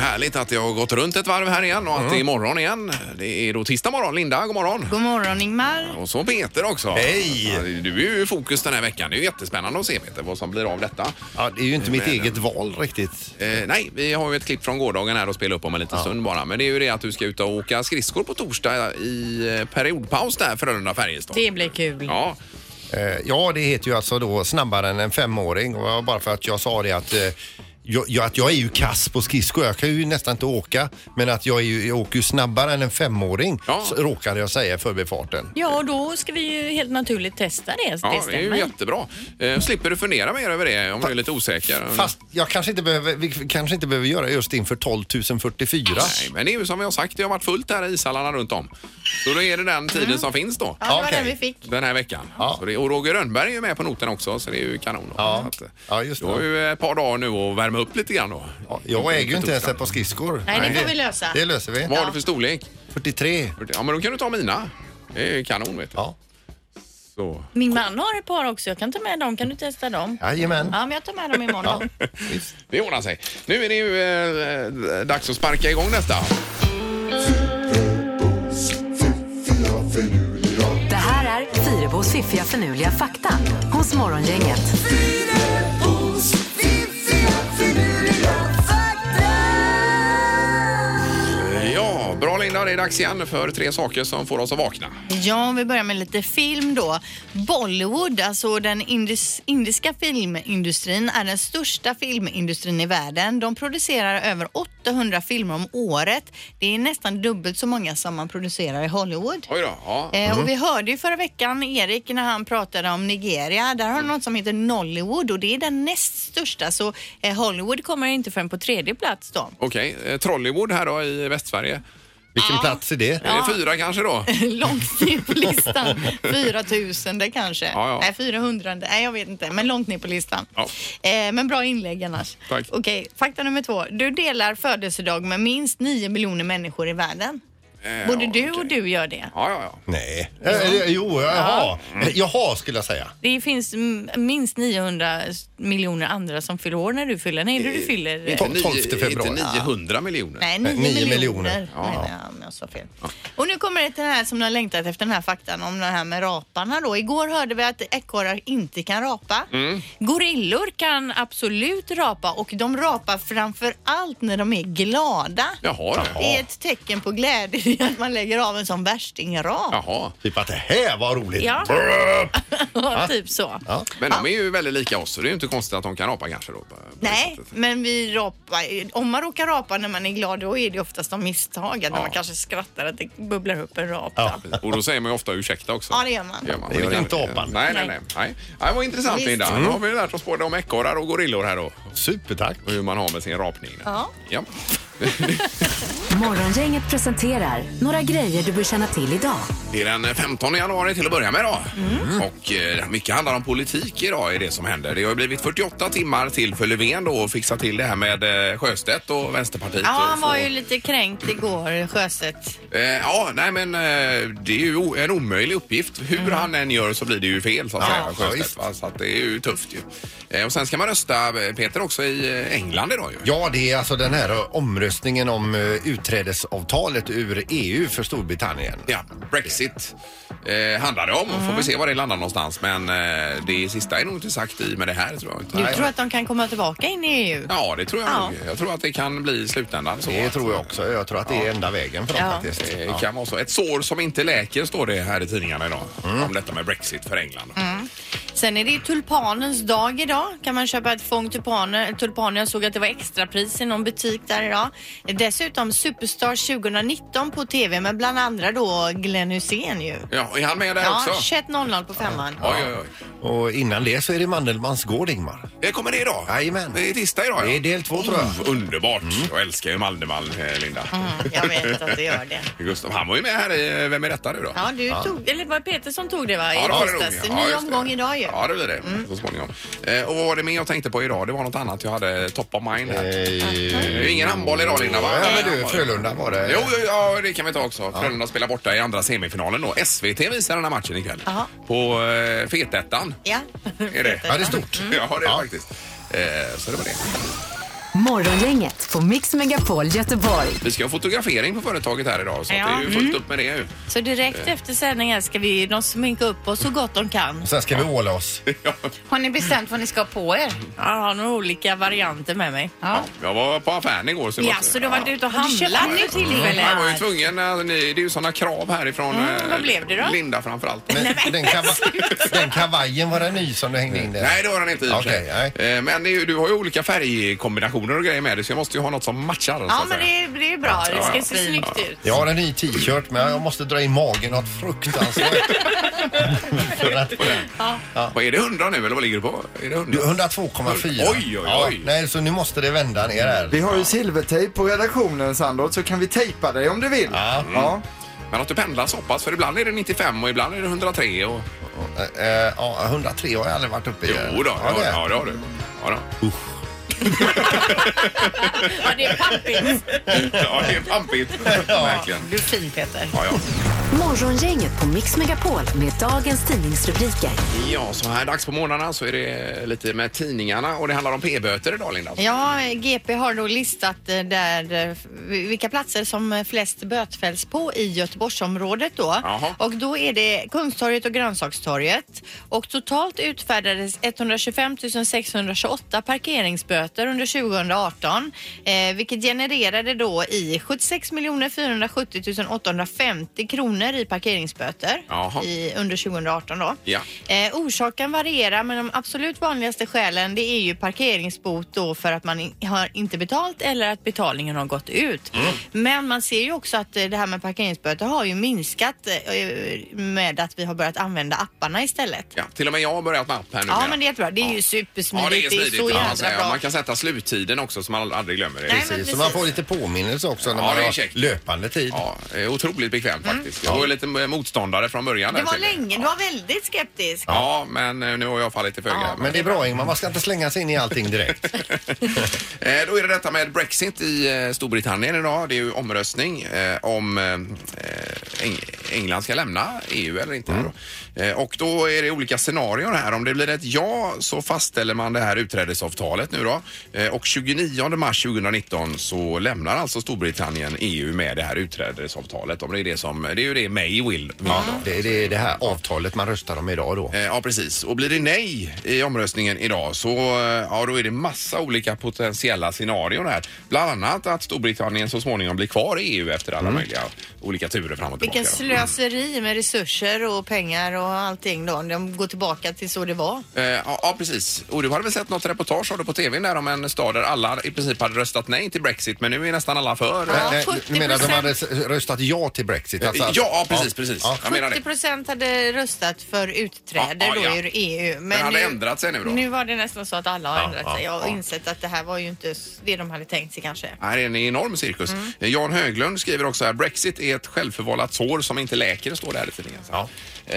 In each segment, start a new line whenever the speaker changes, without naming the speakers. härligt att jag har gått runt ett varv här igen och att det är morgon igen. Det är då tisdag morgon. Linda, god morgon.
God morgon Ingmar.
Och så Peter också.
Hej!
Ja, Du är ju i fokus den här veckan. Det är ju jättespännande att se Peter vad som blir av detta.
Ja, det är ju inte mitt eget val riktigt.
Eh, nej, vi har ju ett klipp från gårdagen här att spela upp om en liten stund bara. Men det är ju det att du ska ut och åka skridskor på torsdag i eh, periodpaus där Frölunda-Färjestad.
Det blir kul.
Ja,
Eh, Ja, det heter ju alltså då snabbare än en femåring och bara för att jag sa det att eh, jag, jag, att jag är ju kass på skridskor, jag kan ju nästan inte åka. Men att jag, är ju, jag åker ju snabbare än en femåring,
Ja.
så råkade jag säga i förbifarten.
Ja, och då ska vi ju helt naturligt testa det.
ja
det
det är ju
stämmer.
jättebra. Eh, slipper du fundera mer över det om du är lite osäker.
Fast jag kanske inte behöver, vi kanske inte behöver göra just inför 12 044.
Nej, men det är ju som vi har sagt, det har varit fullt här i ishallarna runt om. Så då är det den tiden som finns då.
Ja, det var
Okej.
den vi fick.
Den här veckan.
Mm. Ja.
Så det, och Roger Rönnberg är ju med på noten också, så det är ju kanon.
Ja.
Så att,
Ja, just
Du har
det.
ju ett par dagar nu att värma upp lite grann då.
Ja, Jag äger ju inte ens ett par skridskor.
Nej, det får vi lösa.
Det löser vi.
Vad har du för storlek?
43.
Ja, men då kan du ta mina. Det är ju kanon vet du.
Ja,
Så.
Min man har ett par också. Jag kan ta med dem. Kan du testa dem?
jajamän.
Ja, men jag tar med dem imorgon.
Det ordnar sig. Nu är det ju eh, dags att sparka igång detta.
Det här är Fyrabos fiffiga förnuliga fakta hos Morgongänget.
Ja, bra Linda, det är dags igen för tre saker som får oss att vakna.
Ja, om vi börjar med lite film då. Bollywood, alltså den indis- indiska filmindustrin, är den största filmindustrin i världen. De producerar över 800 filmer om året. Det är nästan dubbelt så många som man producerar i Hollywood.
Oj då. Ja.
Eh, och vi hörde ju förra veckan Erik när han pratade om Nigeria. Där har de något som heter Nollywood och det är den näst största. Så eh, Hollywood kommer inte förrän på tredje plats då.
Okej, eh, Trollywood här då i Västsverige.
Vilken plats är det?
Är det fyra kanske då?
långt ner på listan. 4000 det kanske.
Ja, ja.
Nej, 400. Nej, jag vet inte. Men långt ner på listan.
Ja.
Eh, men bra inlägg annars.
Tack.
Okej, fakta nummer två. Du delar födelsedag med minst 9 miljoner människor i världen. Både
Eh, ja,
du och
okej.
du gör det.
Ja, ja, ja.
Nej. Eh, Jo, jaha. Eh, Jaha skulle jag säga.
Det finns mm, minst 900 miljoner andra som fyller år när du fyller. Nej, du, du fyller... eh,
Tol- 12 februari.
Inte 900 miljoner.
Nej,
Nej,
9
nio
miljoner.
miljoner.
Ja.
menar jag, om jag sa fel. Och nu kommer det till den här som ni har längtat efter, den här faktan om det här med raparna då. Igår hörde vi att ekorrar inte kan rapa. Gorillor kan absolut rapa och de rapar framför allt när de är glada.
Jaha, du.
Det är ett tecken på glädje det är att man lägger av en sån värstingrap.
Jaha.
Typ att det här var roligt.
Ja. typ så.
Ja.
Men de är ju väldigt lika oss, så det är ju inte konstigt att de kan apa kanske då. på- på det
Nej,
sättet.
men vi rapar. Om man råkar rapa när man är glad då är det oftast av misstag. Att när man kanske skrattar att det bubblar upp en rap.
Ja.
då.
Och då säger man ju ofta ursäkta också.
Ja, det gör man.
Det gör inte apan. Mm.
Nej, nej, nej.
Nej.
nej. nej vad intressant
Visst.
Linda. Nu har vi lärt oss både om ekorrar och gorillor här då.
Supertack.
Och hur man har med sin rapning. där.
Ja.
ja.
Morgongänget presenterar några grejer du bör känna till idag.
Det är den 15 januari till att börja med idag.
Mm.
Och eh, mycket handlar om politik idag är det som händer. Det har ju blivit 48 timmar till för Löfven då och fixa till det här med eh, Sjöstedt och Vänsterpartiet.
Ja,
och
han var
få-
ju lite kränkt igår, Sjöstedt.
Eh, ja, nej men eh, det är ju o- en omöjlig uppgift. Hur han än gör så blir det ju fel så att
Mm. Ja,
säga.
ja,
Sjöstedt,
visst.
va? så att det är ju tufft ju. Eh, och sen ska man rösta, eh, Peter, också i eh, England idag ju.
Ja, det är alltså den här omröstningen om eh, utträdesavtalet ur EU för Storbritannien.
Ja, Brexit eh, handlar det om. Får vi
Mm.
se var det landar någonstans. Men eh, det sista är nog inte sagt i med det här tror jag. Inte.
Du tror att de kan komma tillbaka in i E EU?
Ja, det tror jag
Ja.
nog. Jag tror att det kan bli i slutändan så.
Det
att,
tror jag också. Jag tror att det är enda vägen för dem
Ja.
faktiskt.
eh,
Ja.
Kan vara så. Ett sår som inte läker står det här i tidningarna idag.
Mm.
Om detta med Brexit för England.
Sen är det ju tulpanens dag idag. Kan man köpa ett fång tulpaner? tulpaner? Jag såg att det var extrapris i någon butik där idag. Dessutom Superstar 2019 på TV med bland andra då Glenn Hussein ju.
Ja, är han med där
Ja,
också?
21.00 på femman.
Oj, oj, oj.
Och innan det så är det Mandelmans gård, Ingmar.
Det kommer det idag?
Jajamän.
Det är tisdag idag, ja.
Det är del två, tror jag.
Oh, underbart.
Mm.
Jag älskar ju Malmöman, eh, Linda.
Mm, jag vet att det gör det.
Gustav, han var ju med här i eh, Vem är detta nu då?
Ja, du tog, eller var det Peter som tog det va? I
Ja, det var det
tisdags.
nog. Ja,
Ny
just det.
omgång idag ju. Mm.
Ja, det blir det så småningom. Eh, och vad var det mer jag tänkte på idag? Det var något annat jag hade top of mind här. Det är ju ingen handboll idag Linda va?
Eh, Ja, men du, Frölunda var det.
Jo, jo, ja, det kan vi ta också. Frölunda spelar borta i andra semifinalen då. SVT visar den här matchen ikväll.
Jaha.
På eh, Fetettan.
Ja.
Är det? Mm.
Ja, det är stort.
Ja, det är det faktiskt. Eh, så det var det.
Morgongänget på Mix Megapol Göteborg.
Vi ska ha fotografering på företaget här idag så att
Ja,
det är ju fullt upp med det ju.
Så direkt
Eh.
efter sändningen ska vi de sminka upp oss så gott de kan.
Och sen ska vi åla oss.
Ja,
Har ni bestämt vad ni ska ha på er?
Jag har några olika varianter med mig.
Ja.
jag var på affären igår. Så det var-
Ja, så du har varit ute och
Och du köpte
handlat nu
nytt.
Ja,
tillfället?
Jag var ju tvungen, eh, ni- det är ju sådana krav härifrån. Mm,
vad blev det då?
Linda framförallt.
Men den, kava den kavajen var den ny som du hängde in där?
Nej, det var den inte i och för sig.
Okej,
Eh, Men det är, ju- du har ju olika färgkombinationer och grejer med dig så jag måste ju ha något som matchar. så
Ja,
att
men
säga.
det, det är bra. Det
Ja, ja.
ska se snyggt ut.
Jag har en ny t-shirt men jag måste dra in magen något fruktansvärt. För att-
Vad är det 100 nu eller vad ligger du på? Är det 100?
Du, 102,4.
Oj, oj, oj.
Ja, nej, så nu måste det vända ner här.
Vi har ju silvertejp på redaktionen Sandholt så kan vi tejpa dig om du vill.
Ja.
Ja.
Men att du pendlar så pass för ibland är det 95 och ibland är det 103 och...
Eh, eh, Ja, 103 har jag aldrig varit uppe i.
Jo då, det har-
det.
ja, det har du. Ja, då.
Ja, det är pampigt.
ja det är pampigt. Verkligen.
Du är fin, Peter.
Ja, ja.
Morgongänget på Mix Megapol med dagens tidningsrubriker.
ja, så här dags på morgnarna så är det lite med tidningarna och det handlar om p-böter idag Linda.
Ja, GP har då listat eh, där, eh, vilka platser som eh, flest bötfälls på i Göteborgsområdet då.
Jaha.
Och då är det Kungstorget och Grönsakstorget. Och totalt utfärdades 125 628 parkeringsböter under 2018, eh, vilket genererade då i 76 470 850 kronor i parkeringsböter
Jaha.
i, under 2018 då.
Ja.
Eh, orsaken varierar men de absolut vanligaste skälen det är ju parkeringsbot då för att man in, har inte betalt eller att betalningen har gått ut.
Mm.
Men man ser ju också att eh, det här med parkeringsböter har ju minskat eh, med att vi har börjat använda apparna istället.
Ja, till och med jag har börjat med app här nu.
Ja, men det är jättebra. Det är ju supersmidigt.
Ja, det är smidigt.
så
kan man,
jädra
säga.
bra.
man kan sätta sluttiden också så man aldrig glömmer det.
Nej, men
Precis, så
precis.
man får lite påminnelse också när
Ja,
man
det är
har
käckt.
löpande tid.
Ja, det är otroligt bekvämt faktiskt. Jag var ju lite eh, motståndare från början.
Mm. Det
där
var
till
länge. Du var väldigt skeptisk.
Ja, men eh, nu har jag fallit till föga. Men,
Men det är bra Ingmar, man ska inte slänga sig in i allting direkt.
eh, då är det detta med Brexit i eh, Storbritannien idag. Det är ju omröstning eh, om eh, Eng England ska lämna EU eller inte. Eh, och då är det olika scenarion här. Om det blir ett ja så fastställer man det här utträdesavtalet nu då. Eh, och 29 mars 2019 så lämnar alltså Storbritannien EU med det här utträdesavtalet. Om det är det som, det är ju det May vill.
Ja, det, det är det här avtalet man röstar om idag då.
Eh, Ja, precis. Och blir det nej i omröstningen idag så eh, ja, då är det massa olika potentiella scenarion här. Bland annat att Storbritannien så småningom blir kvar i EU efter alla möjliga olika turer fram och tillbaka.
Vilken slöseri med resurser och pengar och allting då. De går tillbaka till så det var.
Eh, Ja, ja, precis. Och du hade väl sett något reportage har du på tvn där om en stad där alla i princip hade röstat nej till Brexit men nu är nästan alla för.
Ja,
Nej, nej, eh, du menar att de
70%.
hade s- röstat ja till Brexit? alltså
Eh,
att-
Ja, precis, precis. Jag menar det.
70 procent hade röstat för utträde
Ja, ja,
då
ja.
ur EU. Men,
Men hade ändrat sig nu då?
Nu var det nästan så att alla har ändrat
ja,
sig och insett att det här var ju inte s- det de hade tänkt sig kanske.
Här är en enorm cirkus.
Mm.
Eh, Jan Höglund skriver också här, Brexit är ett självförvållat sår som inte läker, står det här i tidningen.
Ja.
Eh,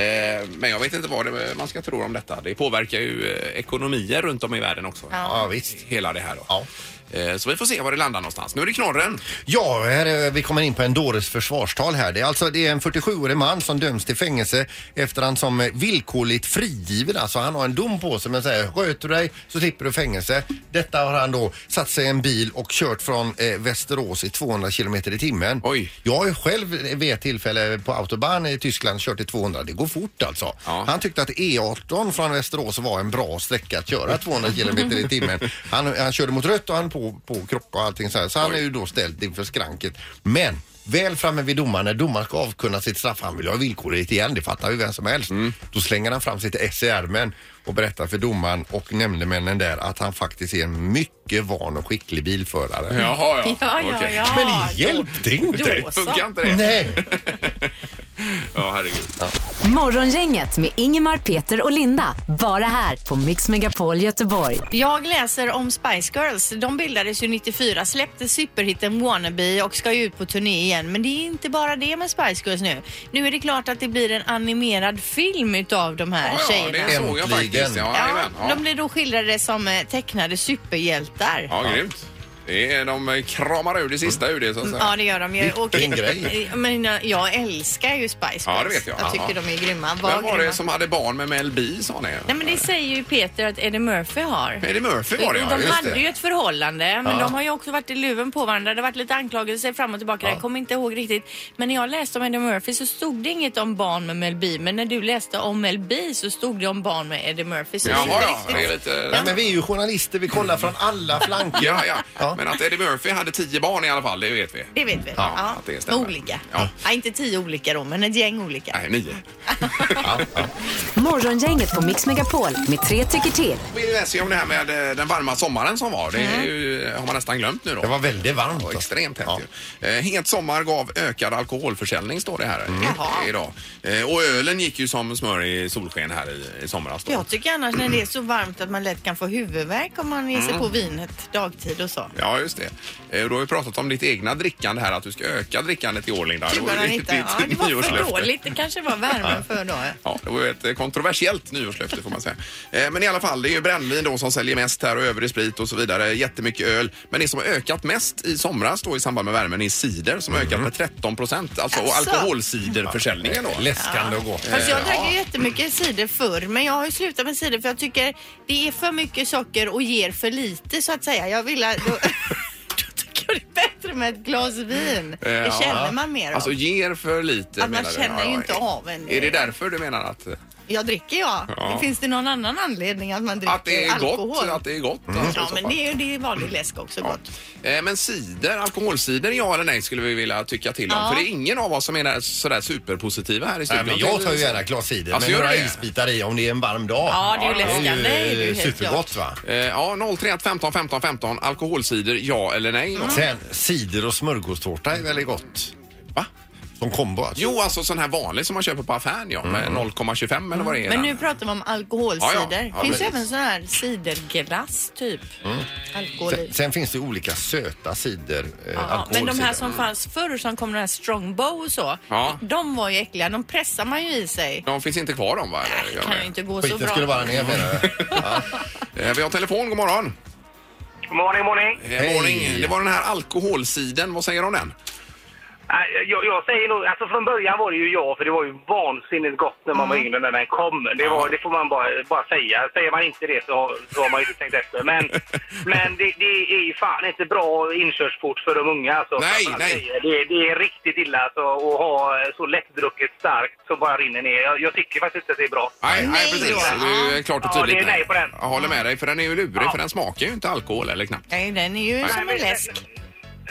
men jag vet inte vad det, man ska tro om detta. Det påverkar ju eh, ekonomier runt om i världen också.
Ja, visst.
Hela det här då.
Ja.
Eh, så vi får se var det landar någonstans. Nu är det knorren.
Ja, här är, vi kommer in på en dåres försvarstal här. Det är alltså det är en 47-årig man som döms till fängelse efter han som är villkorligt frigiven. Alltså han har en dom på sig men säger sköter du dig så slipper du fängelse. Detta har han då satt sig i en bil och kört från eh, Västerås i 200 kilometer i timmen.
Oj.
Jag har ju själv vid ett tillfälle på autobahn i Tyskland kört i 200. Det går fort alltså.
Ja.
Han tyckte att E18 från Västerås var en bra sträcka att köra 200 kilometer i timmen. Han, han körde mot rött och han på, på krock och allting så här. Så han är ju då ställd inför skranket. Men Väl framme vid domaren, när domaren ska avkunna sitt straff, han vill ju ha villkorligt igen, det fattar ju vem som helst.
Mm.
Då slänger han fram sitt ess i ärmen och berättar för domaren och nämndemännen där att han faktiskt är en mycket van och skicklig bilförare.
Jaha, ja.
Ja, ja,
Okej.
ja.
Men det hjälpte inte!
Det funkar inte det.
Nej!
Ja, herregud.
Morgongänget med Ingemar, Peter och Linda. Bara här på Mix Megapol Göteborg.
Jag läser om Spice Girls. De bildades ju 94, släppte superhitten Wannabe och ska ju ut på turné igen. Men det är inte bara det med Spice Girls nu. Nu är det klart att det blir en animerad film utav de här
Ja, ja,
tjejerna.
det såg jag
Äntligen.
faktiskt. Ja,
Ja,
jajamän. ja.
De blir då skildrade som eh, tecknade superhjältar.
ja grymt. Det är, de kramar ur det sista ur det så att säga.
Ja, det gör de ju. Och,
Vilken grej.
Men jag älskar ju Spice Girls.
Ja, det vet jag.
Jag
Ja.
tycker de är grymma. Var
Vem var
grymma.
det som hade barn med Mel B sa ni?
Nej men det säger ju Peter att Eddie Murphy har.
Eddie Murphy var det
Och
ja,
de
just
hade
det.
ju ett förhållande men de har ju också varit i luven på varandra. Det har varit lite anklagelser fram och tillbaka. Jag kommer inte ihåg riktigt. Men när jag läste om Eddie Murphy så stod det inget om barn med Mel B. Men när du läste om Mel B så stod det om barn med Eddie Murphy. Så
Jaha,
det är
ja,
riktigt-
det är lite...
Nej, men vi är ju journalister, vi kollar från alla flanker.
Ja, ja. Men att Eddie Murphy hade tio barn i alla fall, det vet vi.
Det vet vi.
Ja, att det stämmer.
Olika.
Ja.
Ja. inte tio olika då, men ett gäng olika.
Nej, nio.
Morgongänget på Mix Megapol med tre tycker till.
Vi läser ju om det här med eh, den varma sommaren som var. Det är
Mm.
ju, eh, har man nästan glömt nu då.
Det var väldigt varmt.
Ja,
alltså.
extremt hett
Ja.
ju. Eh, Het sommar gav ökad alkoholförsäljning står det här eh,
Mm. Jaha.
idag. Eh, och ölen gick ju som smör i solsken här i, i somras då.
Jag tycker annars när det är så varmt att man lätt kan få huvudvärk om man ger sig på vinet dagtid och så.
Ja, just det. Eh, och Då har vi pratat om ditt egna drickande här, att du ska öka drickandet i år, Linda. Det var ju
2019.
ditt-
Ja, det
ditt
var för
nyårslöfte.
dåligt. Det kanske var värmen för då.
Ja, det var ju ett eh, kontroversiellt nyårslöfte får man säga. Eh, Men i alla fall, det är ju brännvin då som säljer mest här och övrig sprit och så vidare. Jättemycket öl. Men det som har ökat mest i somras då i samband med värmen är cider som har ökat med 13 procent. Alltså, och
Mm. Alltså.
alkoholciderförsäljningen då.
Eh, Läskande att gå.
Fast jag
Eh,
drack
ja.
ju jättemycket cider förr men jag har ju slutat med cider för jag tycker det är för mycket socker och ger för lite så att säga. Jag vill... Då, då tycker jag det är bättre med ett glas vin.
Eh,
Det
ja.
känner man mer
Alltså
av.
ger för lite
Att Alltså, man
menar du?
känner ju inte av en- eh,
Är det därför du menar att,
Jag dricker ja.
Ja.
Finns det någon annan anledning att man dricker
att det är
alkohol? Mm.
gott? Att det är gott alltså, i
Ja
så
men
fall?
det är ju det är vanlig läsk också gott.
Eh, Men cider, alkoholcider, ja eller nej skulle vi vilja tycka till om.
Ja.
För det är ingen av oss som är sådär superpositiva här i
Nej,
studion.
men jag tar ju gärna ett glas cider
Alltså,
med
gör
några
det?
isbitar i om det är en varm dag.
Ja, det är ju läskande,
Det
är det
är
ju
ju
helt
supergott va?
Eh, Ja, 031 15 15 15. Alkoholcider, ja eller nej?
Sen cider och smörgåstårta är väldigt gott.
Va?
Som kombo alltså.
Jo, alltså sån här vanlig som man köper på affären ja, med 0,25 eller vad det är.
Mm. Men
där.
nu pratar vi om alkoholcider.
Ja, ja. Ja,
Finns
precis. Mm.
ju även sån här
Ciderglass typ.
alkohol i.
Sen, sen finns det olika söta cider,
Ja,
eh,
men de
alkoholcider.
här som fanns förr som kom den här strongbow och så.
Ja.
De var ju äckliga. De pressar man ju i sig.
De finns inte kvar de va? Eller, gör
Kan
de?
ju inte gå så
Skiten
bra.
skulle vara ner menar jag.
Eh, Vi har telefon, god morgon.
Morning, morning.
Eh,
Hej.
Morning. Det var den här alkoholsiden, vad säger du om den?
Äh, Jag, jag säger nog, alltså från början var det ju jag, för det var ju vansinnigt gott när man var
Mm.
yngre när den kom. Det, var, det får man bara, bara säga. Säger man inte det så, så har man ju inte tänkt efter. Men, men det, det är ju fan inte bra inkörsport för de unga. Alltså,
Nej,
Framförallt
nej.
tjejer. Det, det är riktigt illa alltså, att ha så lättdrucket starkt som bara rinner ner. Jag, jag tycker faktiskt inte att det är bra.
Nej, nej
Nej,
precis.
då.
Du är klart och
Ja,
tydligt
det är nej på den.
Jag håller med dig, för den är ju lurig,
Ja.
för den smakar ju inte alkohol eller knappt.
Nej, den är ju som en läsk.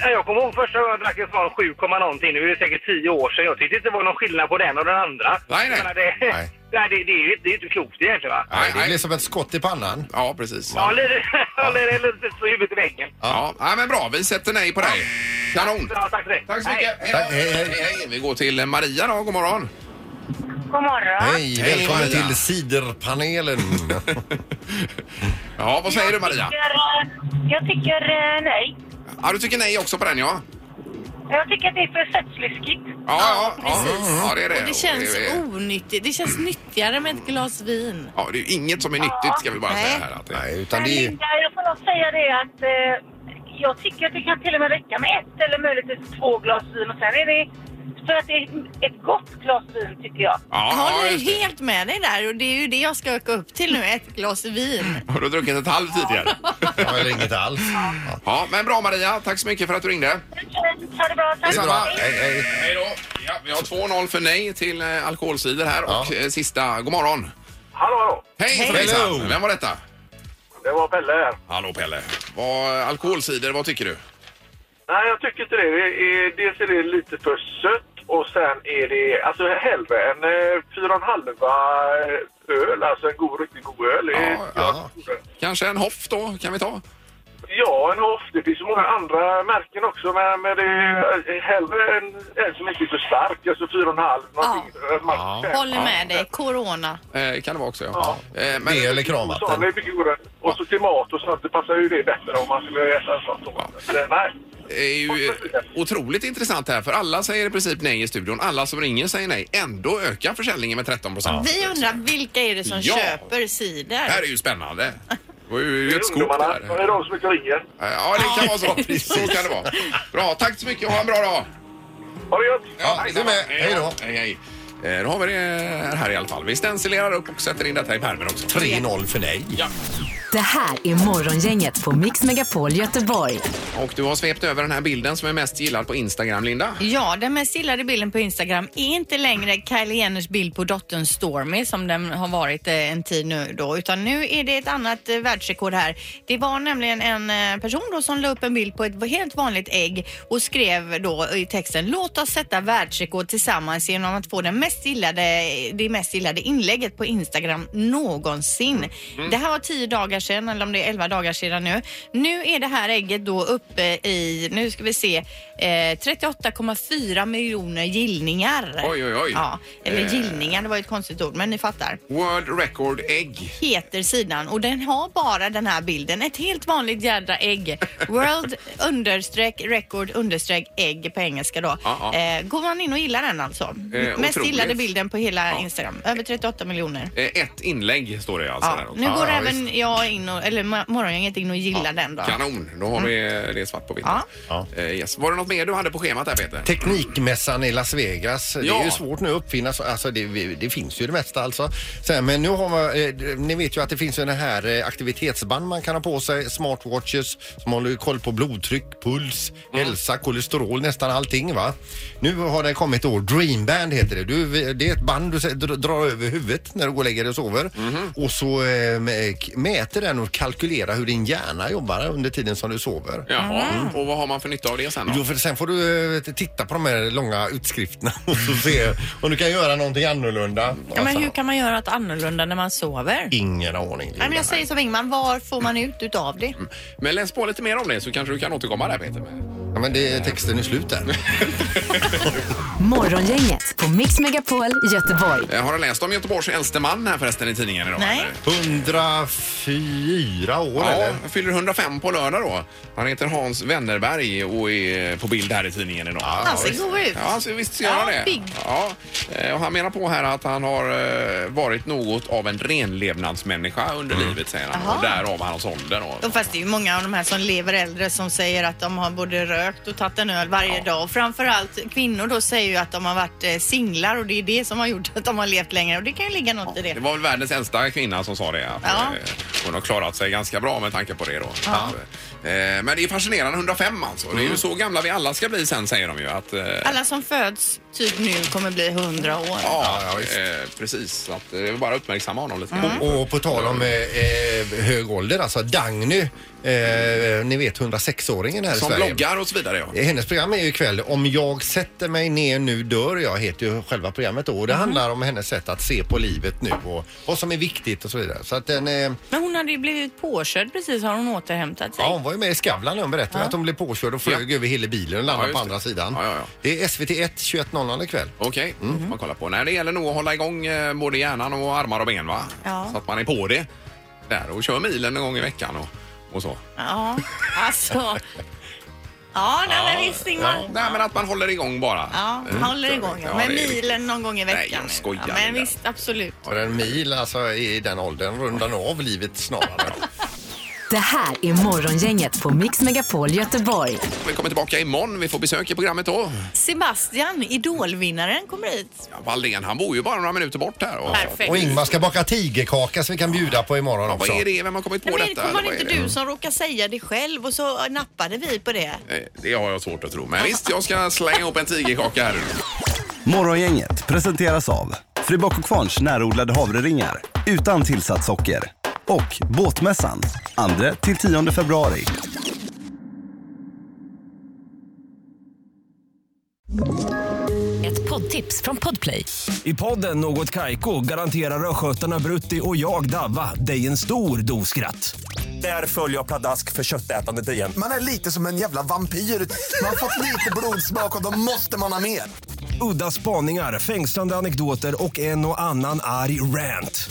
Ja, Jag kommer ihåg första gången jag drack en sån 7, komma någonting. Nu är det säkert 10 år sedan. Jag tyckte inte det var någon skillnad på den och den andra.
Nej, nej.
Jag menar, Det,
Nej.
nej. det, det är ju det är ju inte klokt egentligen va?
Nej,
Nej.
det blir som ett skott i pannan.
Ja, precis.
Ja,
Ja,
lite, ja. lite, lite så huvudet i väggen.
nej, men bra. Vi sätter nej på dig. Kanon.
Bra, tack för det.
Tack så
Hej.
mycket.
Tack, hej, hej.
hej. Vi går till Maria då, god morgon.
God morgon.
Hej,
Hej,
välkommen
Maria.
till ciderpanelen.
Ja, vad säger du Maria?
Jag tycker, eh, jag tycker eh, nej.
Ja, du tycker nej också på den ja?
Jag tycker att det är för sötsliskigt.
Ja, ja, ja, ja det är det.
Och det känns
är-
onyttigt. Det känns nyttigare med ett glas vin.
Ja, det är ju inget som är nyttigt ska vi bara säga
Nej.
här. Att det...
Nej, utan
Men
det är...
Linda, Eh, jag får nog säga det att eh, jag tycker att det kan till och med räcka med ett eller möjligtvis två glas vin. Och sen är det för att det är ett gott glas vin tycker jag.
Ja,
Jag håller
just det.
helt med dig där och det är ju det jag ska öka upp till nu, ett glas vin.
Har du druckit ett halvt tidigare?
Ja, eller inget alls. Ja,
Ja, men bra Maria. Tack så mycket för att du ringde.
Ha det bra. Tack.
det är bra. Hej, hej.
Hej då. Ja, vi har 2-0 för nej till eh, alkoholsidor här och
Ja.
eh, sista, god morgon.
Hallå, hallå.
Hej
Hej.
Frejsan.
Hello.
Vem var detta?
Det var Pelle här.
Hallå Pelle. Vad, eh, alkoholsidor, vad tycker du?
Nej, jag tycker inte det. det är, dels är det lite för sött och sen är det alltså hellre en eh, fyra och en halva eh, öl, alltså en god, riktigt god öl. Det är-
Ja,
ja.
jag-
Kanske en hoff då, kan vi ta?
Ja, en hoff. Det finns ju många andra märken också, men, men det är hellre en, en som inte är så stark, alltså 4,5. någonting, eh, max
Ja.
fem.
Håller med dig, corona.
Eh, kan det vara också ja. Eh, men,
Det eller
Och sådana
kranvatten.
är mycket godare. Och så till mat och sånt, det passar ju det bättre om man skulle äta en sån. Ja. Nej.
är ju eh, otroligt intressant här för alla säger i princip nej i studion. Alla som ringer säger nej. Ändå ökar försäljningen med 13 procent.
Vi undrar vilka är det som
Ja.
köper cider?
Det här är ju spännande. Det var ju ett skop
ungdomarna.
där.
Det är de som inte ringer.
Ja, det kan vara så. Så kan det vara. Bra, tack så mycket och ha en bra dag.
Ha det gött!
Ja, du med. Hej då.
Hej, hej. Eh, Då har vi det här i alla fall. Vi stencilerar upp och sätter in detta i pärmen också.
3-0 för dig.
Ja.
Det här är Morgongänget på Mix Megapol Göteborg.
Och du har svept över den här bilden som är mest gillad på Instagram, Linda.
Ja, den mest gillade bilden på Instagram är inte längre Kylie Jenners bild på dottern Stormy som den har varit eh, en tid nu då, utan nu är det ett annat eh, världsrekord här. Det var nämligen en eh, person då som la upp en bild på ett helt vanligt ägg och skrev då i texten låt oss sätta världsrekord tillsammans genom att få den mest gillade, det mest gillade inlägget på Instagram någonsin.
Mm.
Det här var tio dagar sedan, eller om det är elva dagar sedan nu. Nu är det här ägget då uppe i, nu ska vi se, eh, 38,4 miljoner gillningar.
Oj, oj, oj.
Ja, eller
Eh.
gillningar, det var ju ett konstigt ord, men ni fattar
World Record Egg.
heter sidan och den har bara den här bilden. Ett helt vanligt jädra ägg. World understreck record understreck ägg på engelska då.
Ja, ja. Eh,
Eh, går man in och gillar den alltså. Mest
otroligt.
gillade bilden på hela
Ja.
Instagram. Över 38 miljoner.
Eh, Ett inlägg står det alltså.
Ja.
Där också.
Nu
Ja,
går även
visst.
jag in och, eller mo- morgongänget in och gillar den då. Mm.
Kanon, då har vi eh, det svart på vitt.
Ja.
Ja.
Eh, Yes. Var det något mer du hade på schemat där Peter?
Teknikmässan i Las Vegas. Det
Ja.
är ju svårt nu att uppfinna. så- Alltså det, det finns ju det mesta alltså. Sen, men nu har man, eh, ni vet ju att det finns ju den här eh, aktivitetsband man kan ha på sig. Smartwatches som håller ju koll på blodtryck, puls, hälsa, kolesterol, nästan allting va. Nu har det kommit då, Dreamband heter det. Du, det är ett band du sä- dr- drar över huvudet när du går och lägger dig och sover. Och så eh, mä- mäter den och kalkylerar hur din hjärna jobbar under tiden som du sover.
Jaha,
Mm.
och vad har man för nytta av det sen då?
Jo, för sen får du eh, titta på de här långa utskrifterna och så se om du kan göra någonting annorlunda.
Ja, men
Alltså,
hur kan man göra något annorlunda när man
Mm.
sover?
Ingen aning.
Nej, men jag säger som Ingman, var får man ut utav det?
Men läs på lite mer om det så kanske du kan återkomma där Peter.
Ja, men det, texten är slut där.
Morgongänget på Mix Megapol Göteborg.
Eh, Har du läst om Göteborgs äldste man här förresten i tidningen idag?
Nej.
eller?
104 år
Ja,
eller?
han fyller 105 på lördag då. Han heter Hans Wennerberg och är på bild här i tidningen idag.
Ah.
Han ser god ut.
Ja, han ser visst gör han
Ja,
det.
pigg.
Ja, eh, och han menar på här att han har eh, varit något av en renlevnadsmänniska under
Mm.
livet säger han. Och därav hans ålder. då.
Och fast det är ju många av de här som lever äldre som säger att de har både rökt och tagit en öl varje dag. Och framförallt kvinnor då säger ju att de har varit eh, singlar och det är det som har gjort att de har levt längre. Och det kan ju ligga något i
Det
det.
var väl världens äldsta kvinna som sa det. Att,
Ja.
eh, Hon har klarat sig ganska bra med tanke på det då. Att, eh, Men det är fascinerande, 105 alltså. Det är ju så gamla vi alla ska bli sen säger de ju. Att, eh,
Alla som föds typ nu kommer bli hundra år.
Ja,
Ja, ja, visst.
eh, precis. Så Att, eh, jag vill bara uppmärksamma honom lite grann.
Och på tal om eh, eh, hög ålder, alltså Dagny, eh, ni vet 106-åringen här i
Som
Sverige.
bloggar och så vidare. Ja.
Hennes program är ju ikväll Om jag sätter mig ner nu dör jag heter ju själva programmet då och det handlar om hennes sätt att se på livet nu och vad som är viktigt och så vidare. Så att den, eh,
Men hon hade ju blivit påkörd precis, har hon återhämtat sig?
Ja, hon var ju med i Skavlan när hon berättade att hon blev påkörd och flög över hela bilen och
Ja, just
landade på
det.
andra sidan.
Ja, ja, ja.
Det är SVT1 21.00 ikväll.
Okej, då får man kolla på. Nej, det gäller nog att hålla igång eh, både hjärnan och armar och ben va?
Ja.
Så att man är på det. Där och kör milen en gång i veckan och, och så.
Ja, alltså. Ja, Mm. nej, men visst Ingmar.
Nej, men att man håller igång bara.
Ja,
Eh,
håller igång.
Ja,
Ja, med
det är viktigt.
milen någon gång i
Nej,
veckan.
jag skojar,
Ja,
Linda.
men visst, absolut.
Och en mil alltså i den åldern rundan av livet snarare.
Det här är Morgongänget på Mix Megapol Göteborg.
Vi kommer tillbaka imorgon. Vi får besök i programmet då.
Sebastian, idolvinnaren, kommer hit.
Ja, Wallén, han bor ju bara några minuter bort här. Och,
Perfekt.
och Ingmar ska baka tigerkaka som vi kan bjuda på imorgon
Vad
också.
är det? Vem har kommit på
Nej, men
detta?
det
eller
var
vad är
inte
det?
du som råkade säga det själv och så nappade vi på det.
Eh, Det har jag svårt att tro. Men visst, jag ska slänga ihop en tigerkaka här.
Morgongänget presenteras av Fribock och Kvarns närodlade havreringar utan tillsatt socker och Båtmässan 2-10 februari.
Ett poddtips från Podplay.
I podden Något Kaiko garanterar östgötarna Brutti och jag, Davva, dig en stor dos skratt. Där följer jag pladask för köttätandet igen.
Man är lite som en jävla vampyr. Man har fått lite blodsmak och då måste man ha mer.
Udda spaningar, fängslande anekdoter och en och annan arg rant.